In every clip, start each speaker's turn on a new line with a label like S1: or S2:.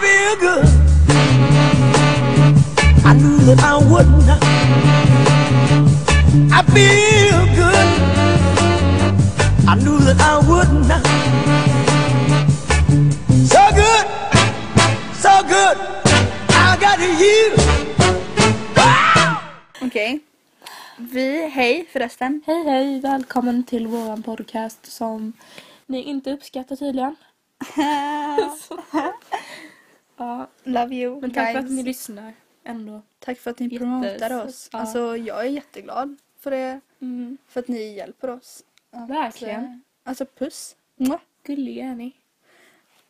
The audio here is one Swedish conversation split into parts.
S1: real good. I knew that I wouldn't. I feel good. I knew that I wouldn't. So good, so good. I got you. Wow!
S2: Okej. Vi, hej förresten.
S3: Hej hej, välkommen till våran podcast som ni inte uppskattar tydligen. Ja,
S2: Love you
S3: men tack för att ni lyssnar ändå.
S2: Tack för att ni
S3: Jättes-
S2: promotar oss.
S3: ja.
S2: Alltså jag är jätteglad för det. För att ni hjälper oss. Att,
S3: Verkligen.
S2: eh, Alltså puss. Mwah.
S3: Gulliga är ni.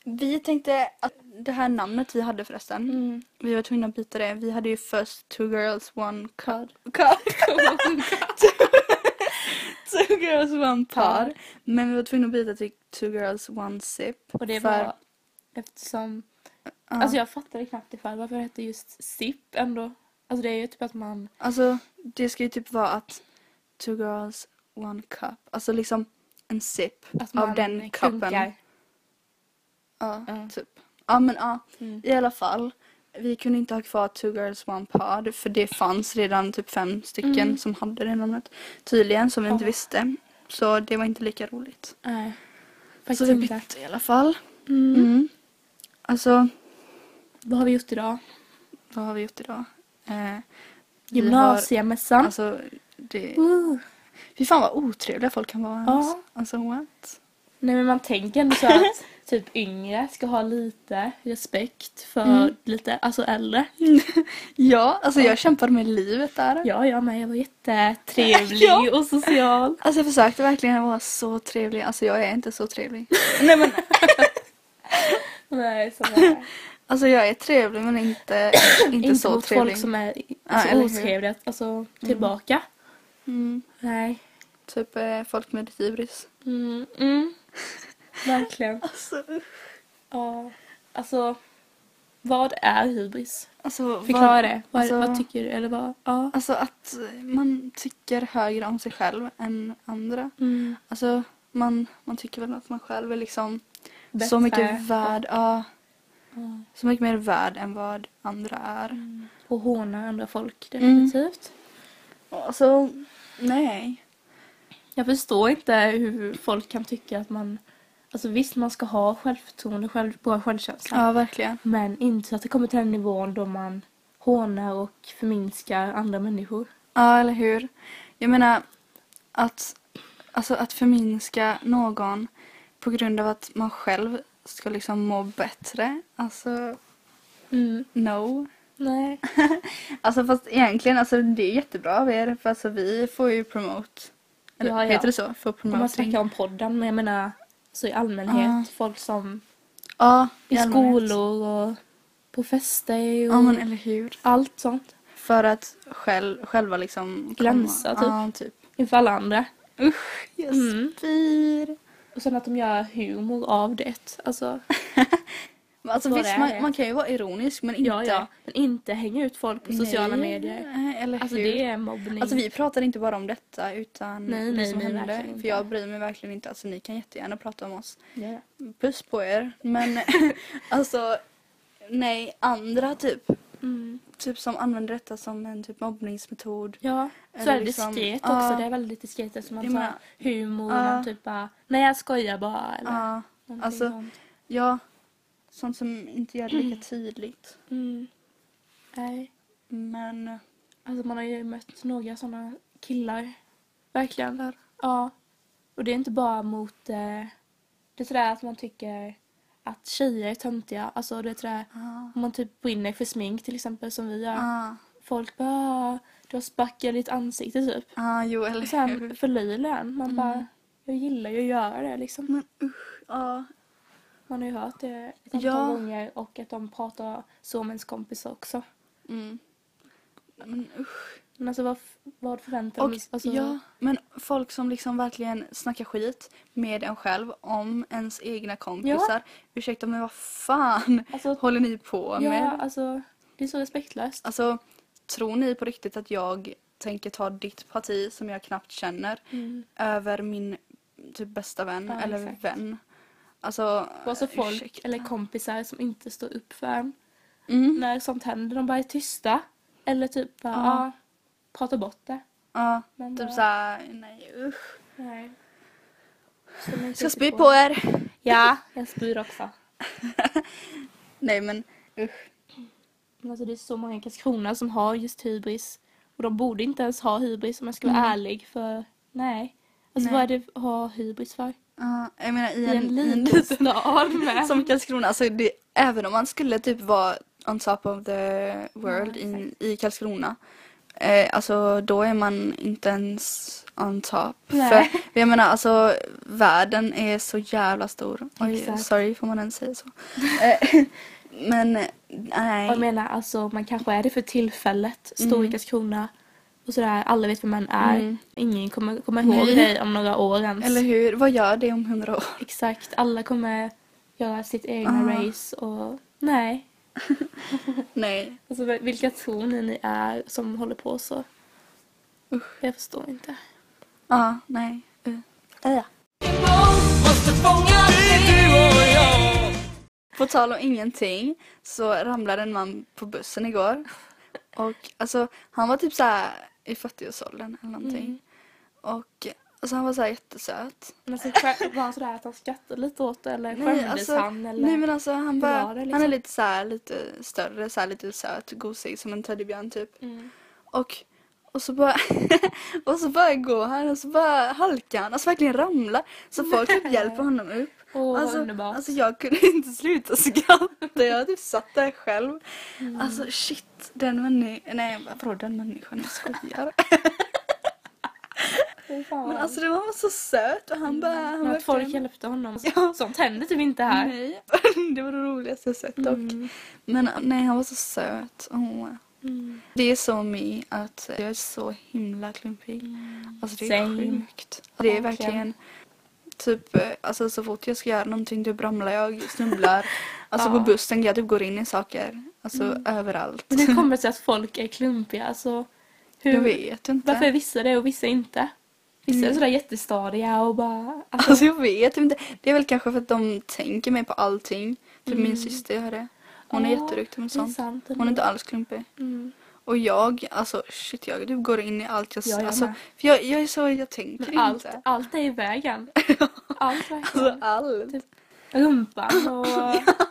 S2: Vi tänkte att det här namnet vi hade förresten. Vi var tvungna att byta det. Vi hade ju först Two Girls One Cod. two Girls One Pod. Men vi var tvungna att byta till Two Girls One Sip.
S3: Och det
S2: För-
S3: var eftersom...
S2: Ja.
S3: Alltså jag fattade knappt ifall varför det hette just SIP ändå. Alltså det är ju typ att man...
S2: Alltså det ska ju typ vara att Two Girls One Cup. Alltså liksom en sip
S3: Att man
S2: av den
S3: klunkar.
S2: cupen. Ja,
S3: Ja.
S2: typ. Ja men ja,
S3: Mm.
S2: i alla fall. Vi kunde inte ha kvar Two Girls One Pod för det fanns redan typ fem stycken
S3: Mm.
S2: som hade det namnet. Tydligen, som vi inte
S3: Ja.
S2: visste. Så det var inte lika roligt.
S3: Nej. Äh, Faktiskt
S2: Mm. så vi
S3: inte.
S2: bytte i alla fall.
S3: Mm.
S2: Mm. Alltså,
S3: Vad har vi gjort idag?
S2: vad har vi gjort idag? Eh, vi har-
S3: Gymnasiemässan.
S2: Alltså, det...
S3: Uh.
S2: Fy fan vad otrevliga folk kan vara.
S3: Ja.
S2: alltså. Alltså what?
S3: Nej men man tänker ändå så att typ yngre ska ha lite respekt för
S2: Mm.
S3: lite, alltså äldre.
S2: Ja, alltså jag kämpade med livet där.
S3: Ja, jag med. Jag var jättetrevlig
S2: Ja.
S3: och social.
S2: Alltså jag försökte verkligen vara så trevlig. Alltså jag är inte så trevlig. Nej men
S3: Nej, så inte,
S2: alltså jag är trevlig men inte, inte,
S3: inte
S2: så
S3: mot
S2: trevlig.
S3: folk som är
S2: Ja,
S3: alltså,
S2: eller hur?
S3: otrevliga, alltså tillbaka.
S2: mm,
S3: Nej.
S2: typ eh, folk med hybris.
S3: Mm, mm. Verkligen.
S2: Alltså,
S3: Ja. Alltså, vad är hybris?
S2: alltså,
S3: Förklara
S2: vad-
S3: det. Vad,
S2: alltså-
S3: vad tycker du? Eller vad? Ja.
S2: Alltså att man tycker högre om sig själv än andra.
S3: Mm.
S2: Alltså man, man tycker väl att man själv är liksom
S3: Bättre.
S2: så mycket värd. Ja,
S3: Mm. Ja.
S2: så mycket mer värd än vad andra är.
S3: Och håna andra folk,
S2: Mm.
S3: definitivt.
S2: Alltså nej.
S3: Jag förstår inte hur folk kan tycka att man... Alltså visst, man ska ha självförtroende, själv, bra självkänsla.
S2: Ja verkligen.
S3: Men inte så att det kommer till den nivån då man hånar och förminskar andra människor.
S2: Ja, eller hur? Jag menar att, alltså, att förminska någon på grund av att man själv ska liksom må bättre. Alltså, Mm, no.
S3: Nej.
S2: Alltså fast egentligen, alltså, det är jättebra av er för alltså, vi får ju promote. Eller
S3: Ja, ja.
S2: heter det så? För
S3: Om man
S2: promoting.
S3: snackar om podden, men jag menar så i allmänhet.
S2: Ja.
S3: Folk som
S2: Ja,
S3: i
S2: allmänhet.
S3: skolor och på fester och
S2: Ja, men eller hur?
S3: allt sånt.
S2: För att själv, själva liksom...
S3: Glänsa,
S2: komma. Ja, typ.
S3: Inför alla andra.
S2: Jag
S3: Mm.
S2: spyr.
S3: Och sen att de gör humor av det. Alltså,
S2: Men Alltså,
S3: Så
S2: visst,
S3: är
S2: man,
S3: det.
S2: man kan ju vara ironisk men inte...
S3: ja, ja. Men inte hänga ut folk på sociala
S2: Nej.
S3: medier.
S2: Nej, Eller
S3: Alltså
S2: hur?
S3: det är mobbning.
S2: Alltså vi pratar inte bara om detta utan
S3: Nej,
S2: det
S3: nej,
S2: som
S3: nej,
S2: hände.
S3: verkligen inte.
S2: För jag bryr mig verkligen inte. Alltså ni kan jättegärna prata om oss.
S3: Ja, ja.
S2: Puss på er. Men alltså nej andra typ.
S3: Mm.
S2: Typ som använder detta som en typ mobbningsmetod.
S3: Ja, så
S2: Eller
S3: är det
S2: liksom-
S3: diskret
S2: Ja.
S3: också. Det är väldigt diskret eftersom man
S2: Jag
S3: tar
S2: menar-
S3: humor
S2: Ja.
S3: och typ bara, nej jag skojar bara eller
S2: Ja,
S3: någonting
S2: alltså-
S3: sånt.
S2: ja. Sånt som inte gör det lika tydligt.
S3: Mm. Nej,
S2: Men
S3: alltså man har ju mött några sådana killar. Verkligen. Ja. Och det är inte bara mot, eh, det är sådär att man tycker att tjejer är töntiga. Alltså det är sådär,
S2: ja.
S3: om man typ brinner för smink till exempel som vi gör.
S2: Ja,
S3: Folk bara, "Ah, du har spackat ditt ansikte typ.
S2: ja jo eller
S3: Och sen
S2: hur.
S3: förlöjligar en. Man
S2: Mm.
S3: bara, jag gillar ju att göra det liksom.
S2: Men usch. Ja.
S3: Man har ju hört det ett antal
S2: Ja.
S3: gånger och att de pratar så med ens kompisar också.
S2: Mm. Men usch.
S3: Men alltså vad, f- vad förväntar
S2: Och,
S3: de sig? Alltså,
S2: ja, men folk som liksom verkligen snackar skit med en själv om ens egna kompisar. Ursäkta men vad fan
S3: alltså,
S2: håller ni på
S3: ja,
S2: med?
S3: alltså det är så respektlöst.
S2: Alltså tror ni på riktigt att jag tänker ta ditt parti som jag knappt känner
S3: Mm.
S2: över min typ bästa vän
S3: Ja,
S2: eller
S3: exakt.
S2: vän? Alltså
S3: Och alltså folk
S2: ursäkta.
S3: eller kompisar som inte står upp för en.
S2: Mm.
S3: när sånt händer. De bara är tysta. Eller typ bara,
S2: Ja.
S3: ja, prata bort det.
S2: Ja,
S3: Men
S2: typ
S3: bara-
S2: såhär, nej usch.
S3: Nej. Så man
S2: Ska
S3: inte
S2: spy
S3: får-
S2: på er.
S3: Ja, jag spyr också.
S2: Nej men usch.
S3: Men Alltså det är så många i Karlskrona som har just hybris. Och de borde inte ens ha hybris om jag ska vara
S2: Mm.
S3: ärlig. För nej. Alltså
S2: Nej.
S3: vad är det att ha hybris för?
S2: Ja, jag menar i
S3: I
S2: en, i
S3: en
S2: en
S3: liten
S2: liten
S3: stad med.
S2: Som Karlskrona, alltså det, även om man skulle typ vara on top of the world
S3: Ja,
S2: in, i Karlskrona. Eh, alltså då är man inte ens on top.
S3: Nej.
S2: För jag menar alltså världen är så jävla stor. Oj,
S3: Exakt.
S2: sorry får man ens säga så. Eh, men eh,
S3: Jag
S2: nej.
S3: menar alltså man kanske är det för tillfället. Stor i
S2: Mm.
S3: Karlskrona. Och sådär, alla vet vem man är.
S2: Mm.
S3: Ingen kommer komma ihåg
S2: Nej.
S3: dig om några år ens.
S2: Eller hur, vad gör det om hundra år?
S3: Exakt, alla kommer göra sitt egna
S2: Ja.
S3: race och nej.
S2: Nej.
S3: Alltså vilka tror ni ni är som håller på så? Jag förstår inte.
S2: Ja, nej. Uh. På tal om ingenting så ramlade en man på bussen igår. Och alltså han var typ så här i 40-årsåldern eller någonting.
S3: Mm.
S2: Och alltså han var så här jättesöt.
S3: Men så skär- var han sådär att han skrattade lite åt det eller skämdes
S2: alltså,
S3: han eller?
S2: nej men alltså han
S3: Hur
S2: bara,
S3: var det, liksom?
S2: han är lite så här lite större, så här lite söt, gosig som en teddybjörn typ.
S3: mm.
S2: Och, och så bara och så bara går han och så bara halkar han, alltså verkligen ramlar. Så folk typ hjälper honom upp.
S3: Åh vad
S2: Alltså,
S3: underbart.
S2: alltså jag kunde inte sluta skratta. Jag typ satt där själv.
S3: Mm.
S2: Alltså shit, den människan. Nej vadå den människan? Jag skojar.
S3: Fy fan.
S2: Men alltså det var så söt och han bara... Han
S3: Men att folk
S2: verkligen-
S3: hjälpte honom. Sånt händer typ inte här.
S2: Nej, det var det roligaste jag sett dock.
S3: Mm.
S2: Men nej han var så söt. Åh.
S3: Mm.
S2: Det är så mig att jag är så himla klumpig. Alltså det är
S3: Same.
S2: sjukt. Det är
S3: Verkligen.
S2: verkligen typ eh, alltså så fort jag ska göra någonting typ ramlar jag, snubblar. Alltså
S3: Ja. Mm.
S2: på bussen jag typ går in i saker. Alltså överallt.
S3: Men hur kommer det sig att folk är klumpiga? Alltså, hur,
S2: Jag vet inte.
S3: Varför är vissa det och vissa inte? Vissa är
S2: Mm.
S3: sådär jättestadiga och bara... Alltså,
S2: Alltså jag vet inte. Det är väl kanske för att de tänker mig på allting. Typ
S3: Mm.
S2: min syster gör det. Hon är
S3: Ja,
S2: jätteduktig med
S3: det är
S2: sånt.
S3: sant.
S2: Hon är inte alls klumpig.
S3: Mm.
S2: Och jag, alltså shit jag typ går in i allt jag,
S3: Jag gör
S2: alltså,
S3: med.
S2: för jag, jag är så, jag tänker
S3: Men allt,
S2: inte.
S3: allt är i vägen. Allt verkligen.
S2: Alltså allt.
S3: Typ Rumpan och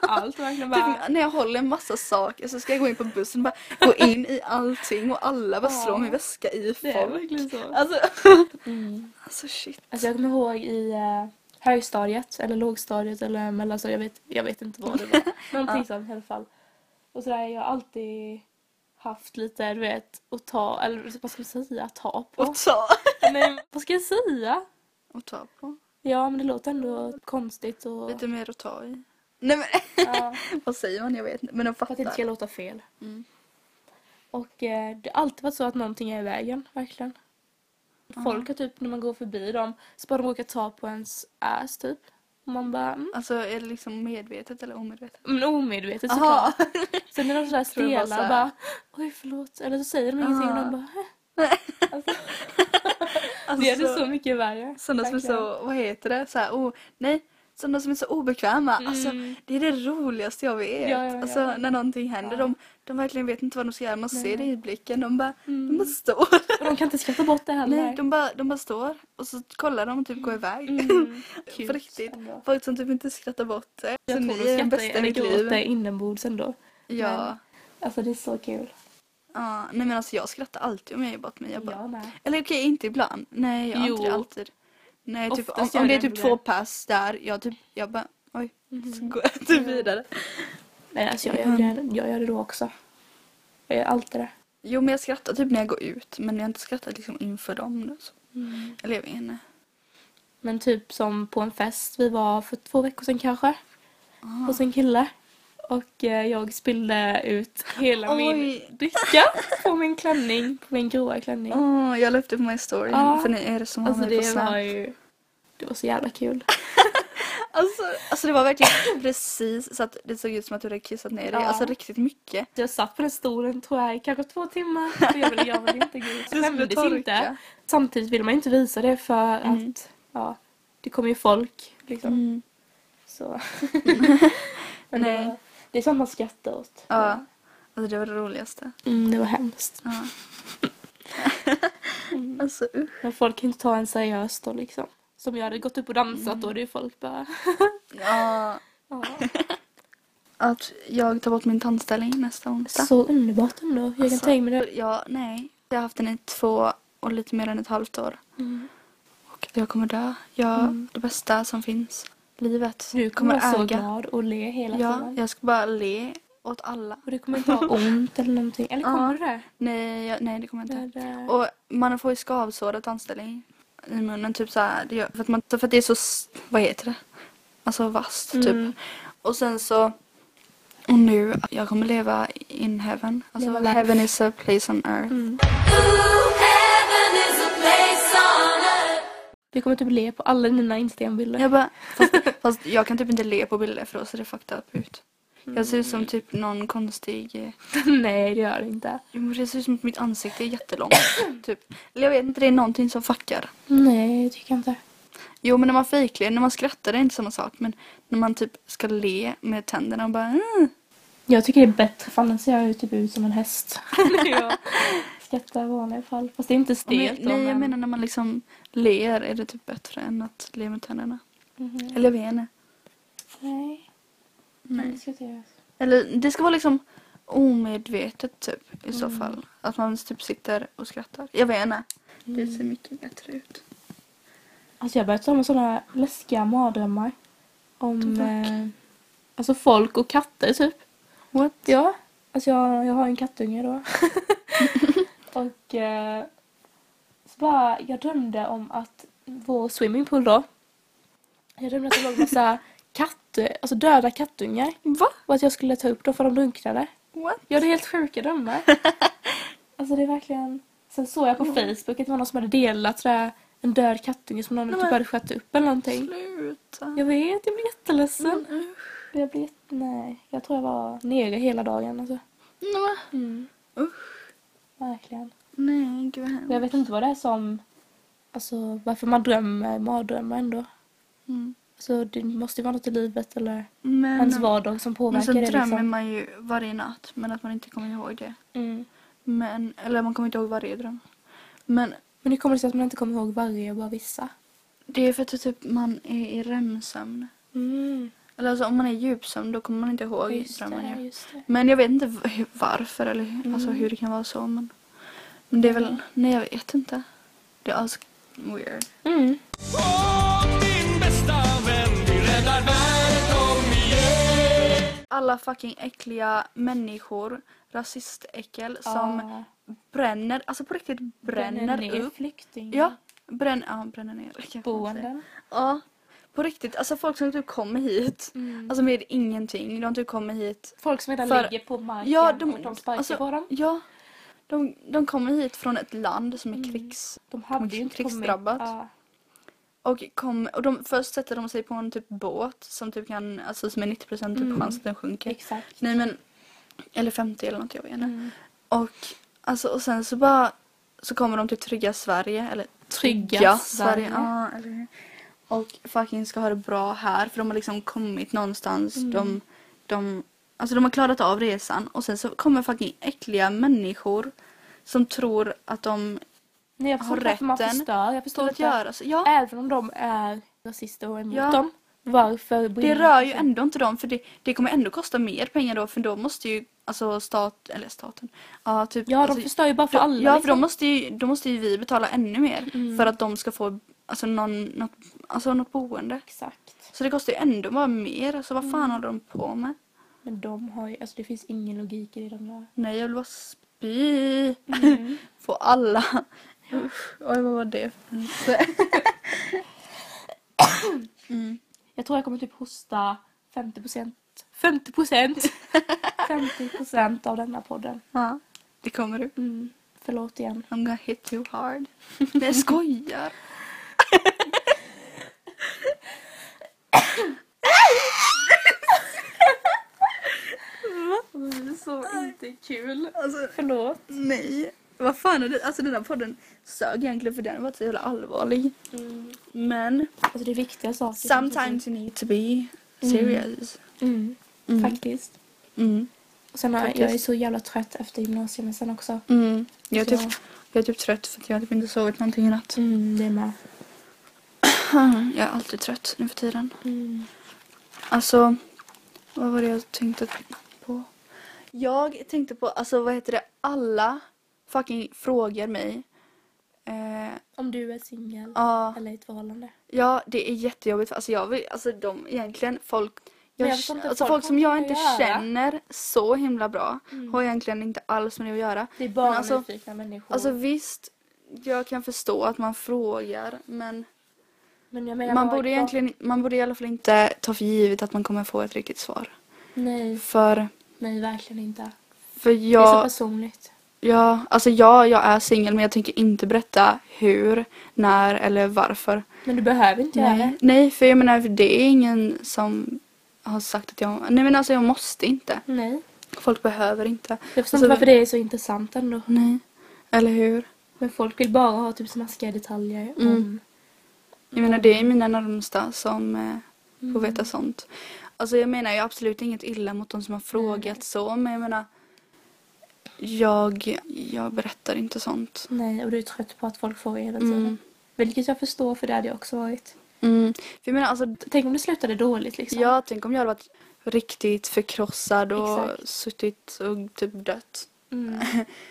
S3: allt verkligen bara...
S2: Typ, när jag håller en massa saker så ska jag gå in på bussen och bara gå in i allting och alla bara
S3: Ja.
S2: slår min väska i
S3: Det är
S2: folk.
S3: verkligen så.
S2: Alltså,
S3: Mm.
S2: alltså shit.
S3: Alltså jag kommer ihåg i eh, högstadiet eller lågstadiet eller mellanstadiet, jag vet, jag vet inte vad det var. Någonting sånt i alla fall. Och sådär, jag har alltid haft lite, du vet, att ta, eller vad ska jag säga, ta på.
S2: Och ta.
S3: Nej, vad ska jag säga?
S2: Och ta på.
S3: Ja, men det låter ändå konstigt och...
S2: Lite mer att ta i. Nej men
S3: Ja,
S2: vad säger man? Jag vet inte. Men de
S3: för att det inte ska
S2: fattar.
S3: låta fel.
S2: Mm.
S3: Och eh, det har alltid varit så att någonting är i vägen, verkligen. Folk har typ, när man går förbi dem, så bara de råkar ta på ens ass typ. Och man bara, mm.
S2: Alltså är det liksom medvetet eller omedvetet?
S3: men omedvetet
S2: Aha.
S3: såklart. Sen är de sådär
S2: Tror jag bara Ah,
S3: stela och
S2: såhär.
S3: bara, oj förlåt. Eller så säger de ingenting och de bara, "Hä?"
S2: Alltså,
S3: det är det så mycket värre.
S2: Sådana som är
S3: verkligen.
S2: så, vad heter det? Så här, oh, nej, sådana som är så obekväma. Alltså,
S3: Mm.
S2: det är det roligaste jag vet.
S3: Ja, ja, ja.
S2: Alltså, när någonting händer,
S3: Ja.
S2: de, de verkligen vet inte vad de ska göra. Man
S3: Nej.
S2: ser det i blicken. De bara, de
S3: Mm.
S2: bara står.
S3: Och de kan inte skratta bort det heller.
S2: Nej, de bara, de bara står och så kollar de och typ går iväg.
S3: Mm.
S2: På riktigt. Folk som typ inte skrattar bort det.
S3: Jag
S2: så
S3: tror
S2: ni
S3: de
S2: är den
S3: skrattar
S2: bästa i
S3: eller
S2: mitt liv.
S3: gråter inombords ändå.
S2: Ja.
S3: Alltså det är så kul.
S2: ja. Nej men alltså jag skrattar alltid om jag gör bort mig. Jag bara,
S3: Jag med.
S2: Eller okej, inte ibland. Nej, jag gör inte det
S3: Jo.
S2: alltid. Nej, typ, om,
S3: Oftast gör
S2: om det är
S3: jag
S2: typ
S3: ändå
S2: två
S3: det. Mm.
S2: pass där, jag typ, jag bara, oj,
S3: Mhm.
S2: så går jag typ vidare.
S3: Nej, alltså jag
S2: Mm.
S3: gör, det, jag gör det då också. Jag gör alltid det.
S2: Jo, men jag skrattar typ när jag går ut, men jag har inte skrattat liksom inför dem. nu, Så. Eller jag vet inte.
S3: Men typ som på en fest vi var för två veckor sedan kanske. Hos en kille. Och eh, jag spillde ut hela min
S2: Oj.
S3: dricka på min klänning. På min gråa klänning.
S2: Åh, Ah, jag la upp det på min story,
S3: Ja.
S2: för ni är det som har
S3: Alltså
S2: mig på
S3: det
S2: Snap.
S3: var ju... Det var så jävla kul.
S2: Alltså, alltså det var verkligen precis så att det såg ut som att du hade kissat ner dig.
S3: Ja.
S2: Alltså riktigt mycket.
S3: Jag satt på den stolen tror jag i kanske två timmar. För jag ville, jag ville inte gå ut.
S2: skulle
S3: Jag skämdes
S2: torka.
S3: inte. Samtidigt vill man inte visa det för
S2: Mm.
S3: att ja, det kommer ju folk. Liksom.
S2: Mm.
S3: Så. Men
S2: Nej.
S3: Det, var- det är sånt man skrattar åt.
S2: Ja. Alltså det var det roligaste.
S3: Mm, det var hemskt.
S2: Ja. alltså usch.
S3: Men folk kan inte ta en seriöst då liksom. Som jag hade gått upp och dansat
S2: Mm.
S3: då hade ju folk bara...
S2: Ja.
S3: Ja.
S2: Att jag tar bort min tandställning nästa onsdag.
S3: Så underbart ändå. Jag kan
S2: Alltså,
S3: tänka mig det.
S2: Ja, nej. Jag har haft den i två och lite mer än ett halvt år.
S3: Mm.
S2: Och jag kommer dö. Jag, Det bästa som finns. Livet.
S3: Du kommer vara så glad och le hela
S2: Ja,
S3: tiden.
S2: jag ska bara le åt alla.
S3: Och du kommer inte ha ont eller någonting. Eller kommer
S2: Ja.
S3: du det?
S2: Nej, jag, nej det kommer jag inte.
S3: Det är, eh,
S2: Och man får ju skavsår av tandställning i munnen. Typ så här, det gör, för, att man, för att det är så, s- vad heter det? Alltså vasst
S3: Mm.
S2: typ. Och sen så, och nu, jag kommer leva in heaven. Alltså
S3: Leva Mm. life.
S2: heaven is a place on earth.
S3: Du kommer typ le på alla dina Instagram-bilder.
S2: Jag bara, fast, fast jag kan typ inte le på bilder för då ser det fucked up ut. Jag ser ut som
S3: Mm.
S2: typ någon konstig... eh,
S3: Nej, det gör det inte.
S2: Jo men det ser ut som att mitt ansikte är jättelångt. typ. Eller jag vet inte, det är någonting som fuckar.
S3: Nej, det tycker jag inte.
S2: Jo men när man fejkler, när man skrattar det är inte samma sak. Men när man typ ska le med tänderna och bara... Mm.
S3: Jag tycker det är bättre för annars ser jag ju typ ut som en häst. jag skrattar i vanliga fall. Fast det är inte
S2: Nej,
S3: stelt då.
S2: nej jag menar när man liksom ler är det typ bättre än att le med tänderna.
S3: Mhm.
S2: Eller jag vet inte.
S3: Nej.
S2: Nej.
S3: Det ska inte göras.
S2: Eller det ska vara liksom omedvetet typ i
S3: Mm.
S2: så fall. Att man typ sitter och skrattar. Jag vet inte. Mm. Det ser mycket bättre ut.
S3: Alltså jag börjar drömma sådana läskiga mardrömmar. Om
S2: Tobak.
S3: eh, alltså folk och katter typ.
S2: What?
S3: Ja. Alltså jag, jag har en kattunge då. och eh, så bara, jag drömde om att vår swimmingpool då. Jag drömde att det låg massa katter, alltså döda kattungar.
S2: Va?
S3: Och att jag skulle ta upp dem för de drunknade.
S2: What?
S3: Jag hade helt sjuka drömmar. alltså det är verkligen... Sen såg
S2: Mm.
S3: jag på Facebook att det var någon som hade delat sådär, en död kattunge som någon
S2: Nej,
S3: typ
S2: men-
S3: hade skjutit upp eller någonting.
S2: Sluta.
S3: Jag vet, jag blev jätteledsen.
S2: Men usch.
S3: Jag blev jätte... Nej, jag tror jag var nere hela dagen alltså.
S2: Nå,
S3: Mm.
S2: Usch.
S3: Verkligen.
S2: Nej, gud vad hemskt.
S3: Men jag vet inte vad det är som... Alltså varför man drömmer mardrömmar ändå.
S2: Mm.
S3: Alltså det måste ju vara något i livet eller
S2: Men,
S3: ens vardag som
S2: men
S3: påverkar
S2: sen
S3: det
S2: drömmer
S3: liksom.
S2: man ju varje natt men att man inte kommer ihåg det.
S3: Mm.
S2: Men, eller man kommer inte ihåg varje dröm. Men
S3: Men hur kommer det sig att man inte kommer ihåg varje, bara vissa?
S2: det är för att det typ man är i REM-sömn.
S3: Mm.
S2: Eller alltså om man är i djupsömn då kommer man inte ihåg
S3: Just
S2: drömmen. ju.
S3: det, just det.
S2: Men jag vet inte v- varför eller hur- alltså,
S3: Mm.
S2: hur det kan vara så. Men, men det är väl, nej jag vet inte. Det är alls weird.
S3: Mm.
S2: Alla fucking äckliga människor, rasistäckel som
S3: Ja.
S2: bränner, alltså på riktigt bränner,
S3: ner
S2: upp.
S3: flykting.
S2: Ja, bränn, ja, bränner ner. kan man säga.
S3: Boenden.
S2: Ja, på riktigt. Alltså folk som typ kommer hit, alltså med ingenting. De typ kommer hit
S3: Mm. Folk som redan
S2: För-
S3: ligger på marken
S2: Ja, de,
S3: och de sparkar
S2: alltså,
S3: på dem.
S2: Ja. De, de kommer hit från ett land som är krigs...
S3: De hade ju inte
S2: krigsdrabbat.
S3: kommit. Ja.
S2: Och, kom, och de, först sätter de sig på en typ båt som typ kan, alltså som är 90 typ
S3: Mm.
S2: chans att den sjunker.
S3: Exakt.
S2: Nej men, eller 50 eller något, jag vet inte.
S3: Mm.
S2: Och, alltså, och sen så bara, så kommer de till trygga Sverige, eller
S3: Trygga Sverige.
S2: ja, eller hur? Och fucking ska ha det bra här för de har liksom kommit någonstans.
S3: Mm.
S2: De, de, alltså de har klarat av resan och sen så kommer fucking äckliga människor som tror att de
S3: Nej, jag förstår
S2: har
S3: inte varför man
S2: rätten
S3: förstör.
S2: står
S3: Jag förstår
S2: att
S3: inte.
S2: göra så. Ja,
S3: Även om de är rasister och emot
S2: Ja.
S3: dem. Varför
S2: det
S3: brinner
S2: rör ju
S3: sig?
S2: ändå inte dem för det, det kommer ändå kosta mer pengar då för då måste ju alltså stat, eller staten, ja typ.
S3: Ja, de
S2: alltså,
S3: förstör ju bara för
S2: Då-
S3: alla.
S2: Ja, för Mm.
S3: liksom.
S2: då måste, ju, då måste ju vi betala ännu mer för att de ska få alltså, någon, något, alltså, något boende.
S3: Exakt.
S2: Så det kostar ju ändå bara mer. Alltså, vad fan håller de på med?
S3: Men de har ju... Alltså det finns ingen logik i det de gör.
S2: Nej, jag vill bara spy. Få alla. Usch, oj, vad var det Mm.
S3: Jag tror jag kommer typ hosta 50 procent. 50 procent! 50 procent av denna podden.
S2: ja, Det kommer du.
S3: Mm. Förlåt igen.
S2: I'm gonna hit you hard. Nej, jag skojar. Mm,
S3: Så inte kul.
S2: Alltså,
S3: Förlåt.
S2: nej. Vad fan är det? Alltså den här podden sög egentligen för den var så jävla allvarlig. Mm. Men
S3: Alltså det är viktiga saker. som-
S2: Mm. sometimes you need to be serious.
S3: Mm.
S2: Mm.
S3: Faktiskt.
S2: Mm.
S3: Sen har,
S2: Faktiskt.
S3: jag är så jävla trött efter gymnasiemässan också.
S2: Mm. Jag, är
S3: Så-
S2: typ, jag är typ trött för att jag har typ inte sovit någonting i natt.
S3: Mm, det är med.
S2: Jag är alltid trött nu för tiden. Alltså, vad var det jag tänkte på? Jag tänkte på, alltså vad heter det, alla fucking frågar mig. Eh,
S3: Om du är singel
S2: ja,
S3: eller i ett förhållande.
S2: ja, det är jättejobbigt. Alltså jag vill, alltså de egentligen, folk, jag,
S3: Men jag förstår
S2: jag
S3: inte,
S2: alltså
S3: folk
S2: folk
S3: har
S2: som jag
S3: inget
S2: inte
S3: att göra.
S2: känner så himla bra har egentligen inte alls med det att göra.
S3: Det är bara
S2: Mm. Men alltså-
S3: nyfikna människor.
S2: Alltså visst, jag kan förstå att man frågar men
S3: men jag menar
S2: man
S3: bara-
S2: borde egentligen, man borde i alla fall inte ta för givet att man kommer få ett riktigt svar.
S3: Nej,
S2: För,
S3: nej verkligen inte.
S2: för
S3: Mm. Det är så
S2: jag,
S3: personligt.
S2: jag, alltså jag, jag är singel men jag tänker inte berätta hur, när eller varför.
S3: Men du behöver inte göra det.
S2: Nej, nej för jag menar för det är ingen som har sagt att jag, nej men alltså jag måste inte.
S3: Nej.
S2: Folk behöver inte.
S3: Jag förstår
S2: Alltså,
S3: inte varför det är så intressant ändå.
S2: Nej, eller hur?
S3: Men folk vill bara ha typ smaskiga detaljer.
S2: Mm.
S3: Om...
S2: Jag menar det är mina närmsta som eh, får
S3: Mm.
S2: veta sånt. Alltså jag menar ju absolut inget illa mot de som har frågat så men jag menar jag, jag berättar inte sånt.
S3: Nej, och du är trött på att folk frågar hela tiden.
S2: Mm.
S3: Vilket jag förstår för det hade jag också varit.
S2: Mm. För jag menar alltså, d-
S3: Tänk om det slutade dåligt liksom.
S2: jag tänk om jag hade varit riktigt förkrossad och
S3: Exakt.
S2: suttit och typ dött.
S3: Mm.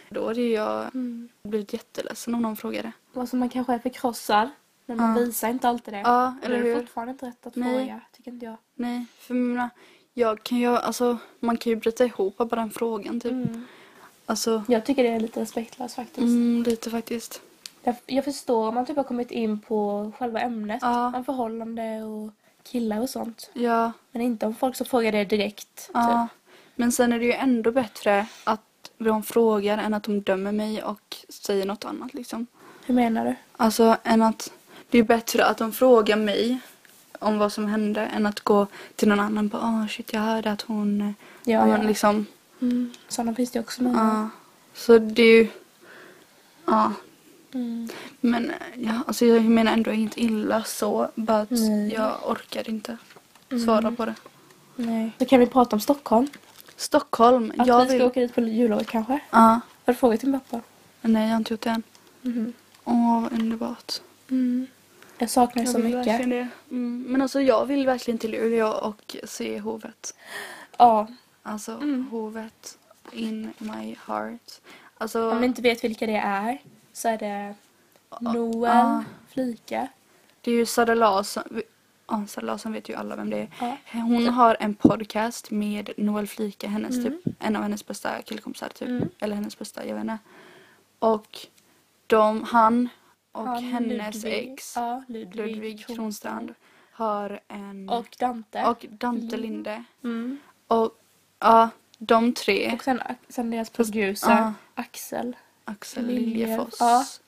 S2: Då hade ju jag
S3: Mm.
S2: blivit jätteledsen om någon frågade.
S3: Alltså man kanske är förkrossad. Men man
S2: Ja.
S3: visar inte alltid det.
S2: Ja,
S3: Och då
S2: eller
S3: är det
S2: hur?
S3: fortfarande inte rätt att
S2: Nej.
S3: fråga. Tycker inte jag.
S2: Nej, för jag menar, jag kan ju, alltså man kan ju bryta ihop av bara den frågan typ.
S3: Mm.
S2: Alltså,
S3: Jag tycker det är lite respektlöst faktiskt.
S2: mm, lite faktiskt.
S3: Jag, jag förstår om man typ har kommit in på själva ämnet.
S2: Ja.
S3: Om förhållande och killar och sånt.
S2: Ja.
S3: Men inte om folk som frågar det direkt.
S2: Ja,
S3: Typ.
S2: men sen är det ju ändå bättre att de frågar än att de dömer mig och säger något annat liksom.
S3: Hur menar du?
S2: Alltså än att det är bättre att de frågar mig om vad som hände än att gå till någon annan och bara åh shit jag hörde att hon eh, ja, men liksom
S3: Mm. Sådana finns det också många.
S2: ja. Så det är ju ja
S3: Mm.
S2: men eh, ja alltså jag menar ändå inget illa så bara att
S3: Nej. Mm.
S2: jag orkar inte svara på det.
S3: Nej. Så kan vi prata om Stockholm.
S2: Stockholm,
S3: Att
S2: jag
S3: vi ska
S2: vill.
S3: åka dit på jullovet kanske. Har
S2: Ja,
S3: du frågat din pappa?
S2: nej jag har inte gjort det än. Mm-hmm.
S3: Mhm.
S2: Åh vad underbart.
S3: Mm. Jag saknar så
S2: vill
S3: mycket.
S2: verkligen det. Mm. Men alltså jag vill verkligen till Luleå och se hovet.
S3: Ja.
S2: Alltså
S3: Mm.
S2: hovet in my heart. Alltså,
S3: Om ni inte vet vilka det är så är det Noel,
S2: ja.
S3: Flika.
S2: det är ju Sara Larsson. Ja, Sara Larsson vet ju alla vem det är.
S3: Ja.
S2: Hon har en podcast med Noel Flika, hennes
S3: Mm.
S2: typ, en av hennes bästa killkompisar typ.
S3: Mm.
S2: Eller hennes bästa, jag vet inte. Och de, han och
S3: Han,
S2: hennes
S3: Ludvig.
S2: ex
S3: Ja, Ludvig,
S2: Ludvig Kronstrand har en...
S3: Och Dante.
S2: och Dante Linde.
S3: Mm.
S2: Och ja, de tre.
S3: Och sen, sen deras
S2: Fast-
S3: producer,
S2: ja.
S3: Axel.
S2: Axel
S3: Liljefors.
S2: Liljefors.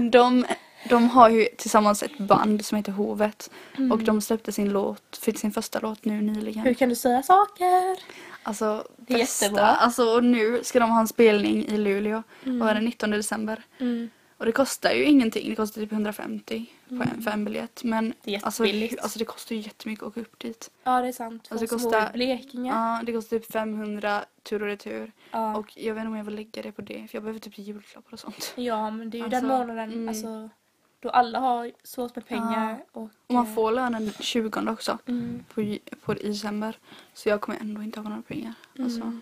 S2: de, de har ju tillsammans ett band som heter Hovet. Och de släppte sin låt, fick sin första låt nu
S3: Mm. Hur
S2: nyligen.
S3: kan du säga saker?
S2: Alltså
S3: Det är
S2: bästa.
S3: jättebra.
S2: Alltså och nu ska de ha en spelning i Luleå. Och är den 19 december.
S3: Mm.
S2: Och det kostar ju ingenting. Det kostar typ 150 på en, för en biljett. Men
S3: Det är
S2: alltså,
S3: Mm. jättebilligt.
S2: hur- alltså det kostar ju jättemycket att åka upp dit.
S3: Ja, det är sant. Folk
S2: Alltså, det
S3: som
S2: kostar-
S3: bor i Blekinge.
S2: Ja, det kostar typ 500 tur och retur.
S3: Ja.
S2: Och jag vet inte om jag vill lägga det på det för jag behöver typ julklappar och sånt.
S3: ja, men det är ju den
S2: Alltså,
S3: månaden
S2: mm.
S3: alltså, då alla har svårt med pengar. Och,
S2: Och man får lönen 20 också
S3: Mm.
S2: på, ju- på i december. Så jag kommer ändå inte ha några pengar. Alltså,
S3: Mm.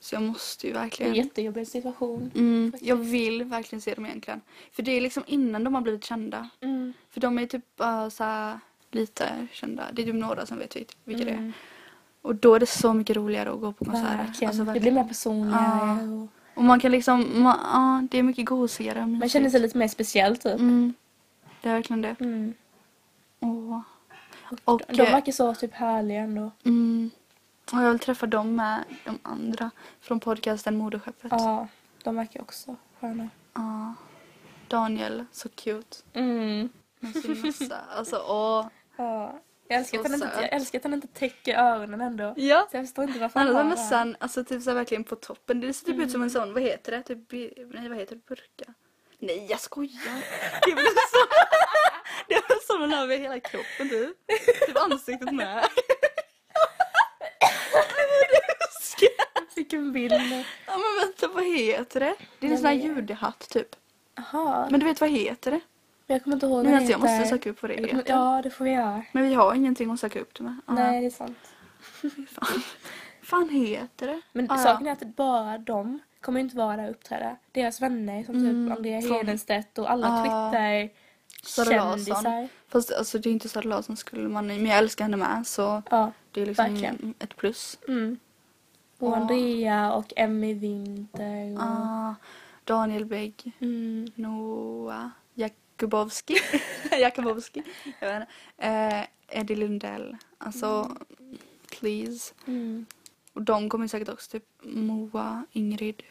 S2: så jag måste ju
S3: Det är en
S2: verkligen.
S3: jättejobbig situation.
S2: Mm, jag vill verkligen se dem egentligen. För det är liksom innan de har blivit kända.
S3: Mm.
S2: För de är typ bara så här lite kända. Det är typ några som vet vilka vilka det är.
S3: Mm.
S2: Och då är det så mycket roligare att gå på konserter.
S3: Verkligen.
S2: Alltså,
S3: Det
S2: verkligen.
S3: blir mer personligare.
S2: Ja.
S3: Och...
S2: Och man kan liksom, man, ja det är mycket gosigare. och
S3: Man
S2: mysigt.
S3: känner sig lite mer speciell typ.
S2: Mm, det är verkligen det.
S3: Mm.
S2: Åh.
S3: Och,
S2: Och,
S3: de
S2: eh,
S3: verkar så typ härliga ändå.
S2: Mm. Och jag vill träffa dem med de andra från podcasten Moderskeppet.
S3: Ja, de verkar också sköna.
S2: Ja. Daniel, så cute.
S3: Mm.
S2: Med sin mössa. alltså, åh.
S3: Ja. Jag älskar,
S2: Så
S3: att han inte,
S2: söt.
S3: jag älskar att han inte täcker öronen ändå.
S2: Ja.
S3: Så jag förstår inte varför
S2: Han har
S3: har det här. Mm.
S2: mössan, alltså typ så här verkligen på toppen. Det ser typ ut som en sån, vad heter det? Typ, bi- nej, vad heter det? Burka? Nej, jag skojar. Det är väl en sån. Det är en sån man har över hela kroppen typ. Typ ansiktet med. Nej, vad du skrattar.
S3: bild.
S2: Ja men vänta, vad heter det? Det är en
S3: Jag
S2: sån här
S3: vet.
S2: judehatt typ.
S3: Jaha. Men
S2: Men du vet vad heter det?
S3: jag kommer inte ihåg
S2: Nu
S3: vad
S2: alltså jag
S3: den
S2: måste
S3: heter.
S2: söka upp vad det
S3: Jag kommer-
S2: heter.
S3: Ja, det får vi göra.
S2: Men vi har ingenting att söka upp det med. Ja.
S3: Nej, det är sant.
S2: Fan. fan heter det?
S3: Men
S2: Ah, ja.
S3: saken är att bara de kommer ju inte vara där och uppträda. Deras vänner som
S2: Mm,
S3: typ Andrea
S2: från-
S3: Hedenstedt och alla
S2: Ah. Sara
S3: Twitter-kändisar.
S2: Larsson. Fast alltså det är inte Sara Larsson skulle man men jag älskar henne med så
S3: Ja.
S2: det är liksom
S3: Verkligen.
S2: ett plus.
S3: Mm. Och
S2: Ja.
S3: Andrea och Emmy Winter. Och...
S2: Ah, Daniel Bägg,
S3: Mm.
S2: Noah Jakubowski. Jakubowski. Jag vet inte. Eh, Eddie Lundell. Alltså, please.
S3: Mm.
S2: Och de kommer säkert också typ Moa, Ingrid,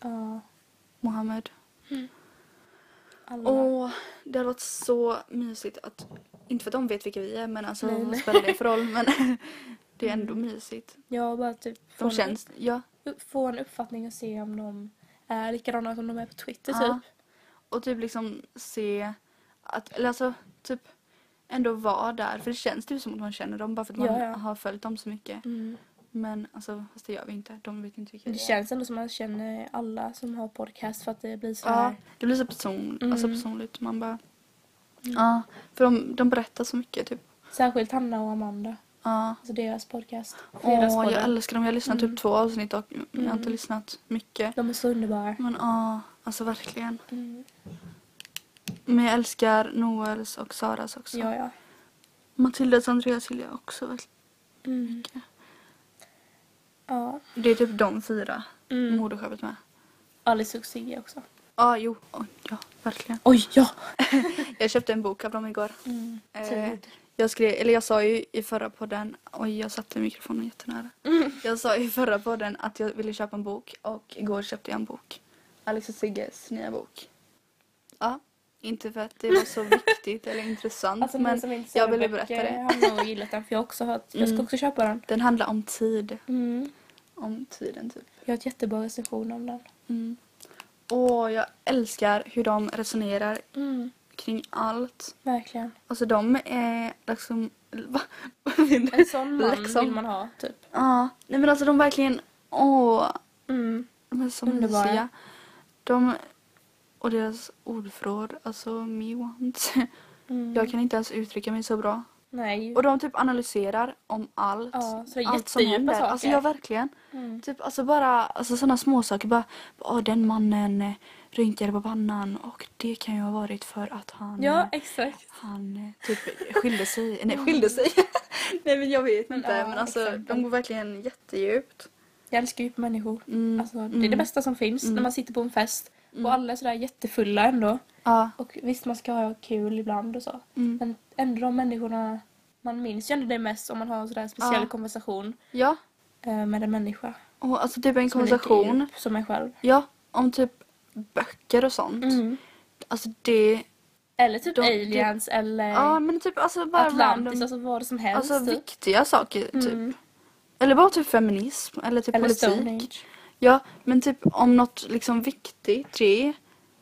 S3: Ja.
S2: Mohammed.
S3: Alla.
S2: Åh, det hade varit så mysigt att, inte för att de vet vilka vi är men alltså
S3: Nej, Mm.
S2: vad
S3: nej.
S2: spelar det för roll men det är ändå mysigt.
S3: Jag bara typ
S2: De
S3: får,
S2: känns, ja.
S3: en, får en uppfattning och se om de är likadana som de är på Twitter
S2: Ja.
S3: typ.
S2: Och typ liksom se att, eller alltså typ ändå vara där för det känns typ som att man känner dem bara för att man
S3: Ja, ja.
S2: har följt dem så mycket.
S3: Mm.
S2: Men alltså fast det gör vi inte, de vet inte vilka
S3: Det
S2: vi är.
S3: känns ändå som man känner alla som har podcast för att det blir så
S2: Ja,
S3: här.
S2: det blir så person, alltså
S3: Mm.
S2: personligt. Man bara, ja. För de, de berättar så mycket typ.
S3: Särskilt Hanna och Amanda.
S2: Ja.
S3: Alltså deras podcast.
S2: Åh, jag
S3: Fredagspodden.
S2: älskar dem. Jag har lyssnat
S3: Mm.
S2: typ två avsnitt och jag har inte
S3: Mm.
S2: lyssnat mycket.
S3: De är så underbara. Mm,
S2: Men ja, alltså verkligen. Men jag älskar Noels och Saras också.
S3: Ja, ja.
S2: Matildas och Andreas gillar jag också väldigt
S3: Mm.
S2: mycket.
S3: Ja.
S2: Det är typ de fyra
S3: Mm.
S2: moderskeppet med.
S3: Alice och Sigge också.
S2: Ja, ah, jo. Oj, ja, verkligen.
S3: Oj, ja!
S2: Jag köpte en bok av dem igår.
S3: Mm.
S2: Eh, jag, skrev, eller jag sa ju i förra podden, oj jag satte mikrofonen jättenära.
S3: Mm.
S2: Jag sa i förra podden att jag ville köpa en bok och igår köpte jag en bok. Alex och Sigges nya bok. Ja, inte för att det var så viktigt eller intressant
S3: Alltså,
S2: men
S3: men som inte
S2: jag ville berätta det.
S3: Jag har nog gillat den för jag har också hört. Jag ska
S2: Mm.
S3: också köpa den.
S2: Den handlar om tid.
S3: Mm.
S2: Om tiden typ.
S3: Jag har ett jättebra recension om den.
S2: Mm. Och jag älskar hur de resonerar
S3: Mm.
S2: kring allt.
S3: Verkligen.
S2: Alltså de är liksom... Va?
S3: En sån man
S2: Liksom.
S3: vill man ha, typ.
S2: Ja, nej men alltså de verkligen... Åh,
S3: Mm.
S2: de är så
S3: Underbara.
S2: mysiga. De... Och deras ordförråd, alltså me want.
S3: Mm.
S2: Jag kan inte ens uttrycka mig så bra.
S3: Nej.
S2: Och de typ analyserar om allt.
S3: Ja, så det är
S2: allt som
S3: jättedjupa
S2: händer.
S3: saker.
S2: Alltså jag verkligen.
S3: Mm.
S2: Typ alltså bara alltså sådana småsaker. Bara, åh den mannen eh, rynkade på pannan och det kan ju ha varit för att han...
S3: Ja, exakt.
S2: Han eh, typ skilde sig. Nej, skilde sig. Nej men jag vet inte.
S3: Ja,
S2: men alltså
S3: exakt.
S2: de går verkligen jättedjupt.
S3: Jag älskar ju människor.
S2: Mm.
S3: Alltså, det är det
S2: Mm.
S3: bästa som finns när man sitter på en fest och alla är sådär jättefulla ändå.
S2: Ja.
S3: Och visst, man ska ha kul ibland och så.
S2: Mm.
S3: Men ändå de människorna, man minns ju ändå det mest om man har en sådär speciell
S2: Ja.
S3: konversation
S2: ja.
S3: eh, med en människa.
S2: Och alltså typ en
S3: Som är lite
S2: konversation.
S3: djup Som en själv.
S2: Ja, om typ böcker och sånt.
S3: Mm.
S2: Alltså det...
S3: Eller typ
S2: De-
S3: aliens eller
S2: Ja men typ alltså bara
S3: Eh, Atlantis,
S2: random.
S3: alltså vad som helst.
S2: Alltså
S3: typ.
S2: viktiga saker typ.
S3: Mm.
S2: Eller bara typ feminism eller typ
S3: Eller Stone
S2: politik.
S3: Age.
S2: Ja men typ om något liksom viktigt, det,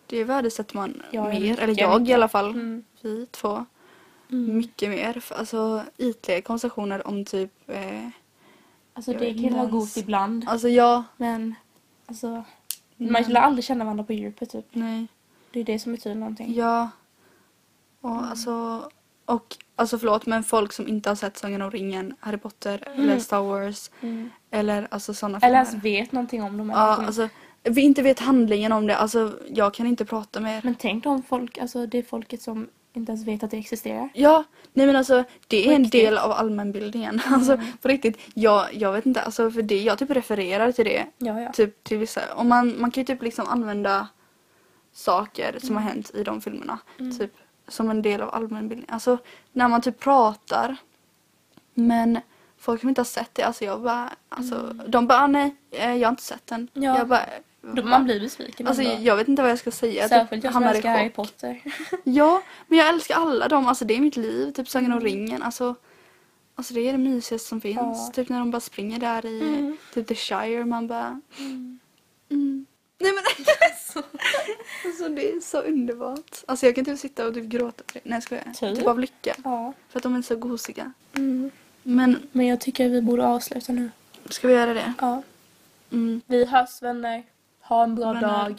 S2: det värdesätter man
S3: Ja,
S2: mer.
S3: mycket,
S2: Eller jag i
S3: mycket.
S2: alla fall.
S3: Mm.
S2: Vi två.
S3: Mm.
S2: Mycket mer. För, Alltså ytliga konversationer om typ... Eh,
S3: Alltså
S2: Jag
S3: det
S2: vet
S3: kan ju
S2: inte
S3: vara
S2: ens.
S3: gott ibland.
S2: alltså jag...
S3: Men alltså, man
S2: Men-
S3: lär aldrig känna varandra på djupet typ.
S2: Nej.
S3: Det är det som betyder någonting.
S2: Ja. Och
S3: Mm.
S2: alltså... Och alltså förlåt men folk som inte har sett Sagan om ringen, Harry Potter eller Star Wars
S3: Mm.
S2: eller alltså sådana
S3: Eller ens vet någonting om dem.
S2: Ja,
S3: eller någonting.
S2: alltså vi inte vet handlingen om det. Alltså jag kan inte prata mer.
S3: Men tänk om folk, alltså det är folket som inte ens vet att det existerar.
S2: Ja, nej men alltså det är en
S3: riktigt. Mm.
S2: del av allmänbildningen. Alltså på riktigt. Jag, jag vet inte, alltså för det, jag typ refererar till det.
S3: Ja, ja.
S2: Typ till vissa, och man, man kan ju typ liksom använda saker som
S3: Mm.
S2: har hänt i de filmerna. Typ som en del av allmänbildningen. Alltså när man typ pratar. Men folk som inte har sett det, alltså jag bara, alltså de bara ah, nej, eh, jag har inte sett den.
S3: Mm. Ja.
S2: Jag bara,
S3: Då,
S2: va?
S3: man blir besviken
S2: Alltså
S3: ändå.
S2: jag vet inte vad jag ska säga. Typ,
S3: Särskilt jag som
S2: hamnar i
S3: älskar Harry
S2: chock.
S3: Potter.
S2: Ja, men jag älskar alla dem. Alltså det är mitt liv. Typ Sagan
S3: Mm.
S2: om ringen. Alltså, alltså det är det mysigaste som finns.
S3: Ja. Mm.
S2: Typ när de bara springer där i typ the shire. Man bara... Mm. Nej men alltså. alltså det är så underbart. Alltså jag kan typ sitta och typ gråta för det. Nej jag skojar.
S3: Typ.
S2: Typ av lycka.
S3: Ja.
S2: För att de är så gosiga. Men
S3: Mm. Men jag tycker vi borde avsluta nu.
S2: ska vi göra det?
S3: Ja.
S2: Mm.
S3: Vi hörs vänner. Ha en bra
S2: Vänner.
S3: dag.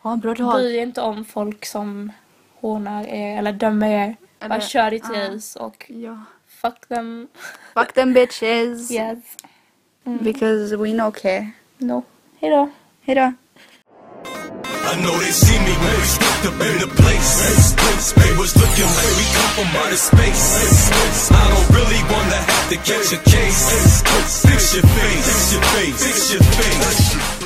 S4: Ha en bra
S3: Bry er inte om folk som hånar er eller dömer er. Bara
S2: Eller-
S3: kör ditt
S2: ah.
S3: race och
S2: Ja.
S3: fuck them.
S4: Fuck them bitches.
S3: Yes.
S2: Because we know care.
S3: No. Hejdå.
S2: Hejdå.
S5: I know they see me when we stepped up in the place. They was looking like we come from outer space. I don't really wanna have to catch a case. Fix your face, fix your face, fix your face.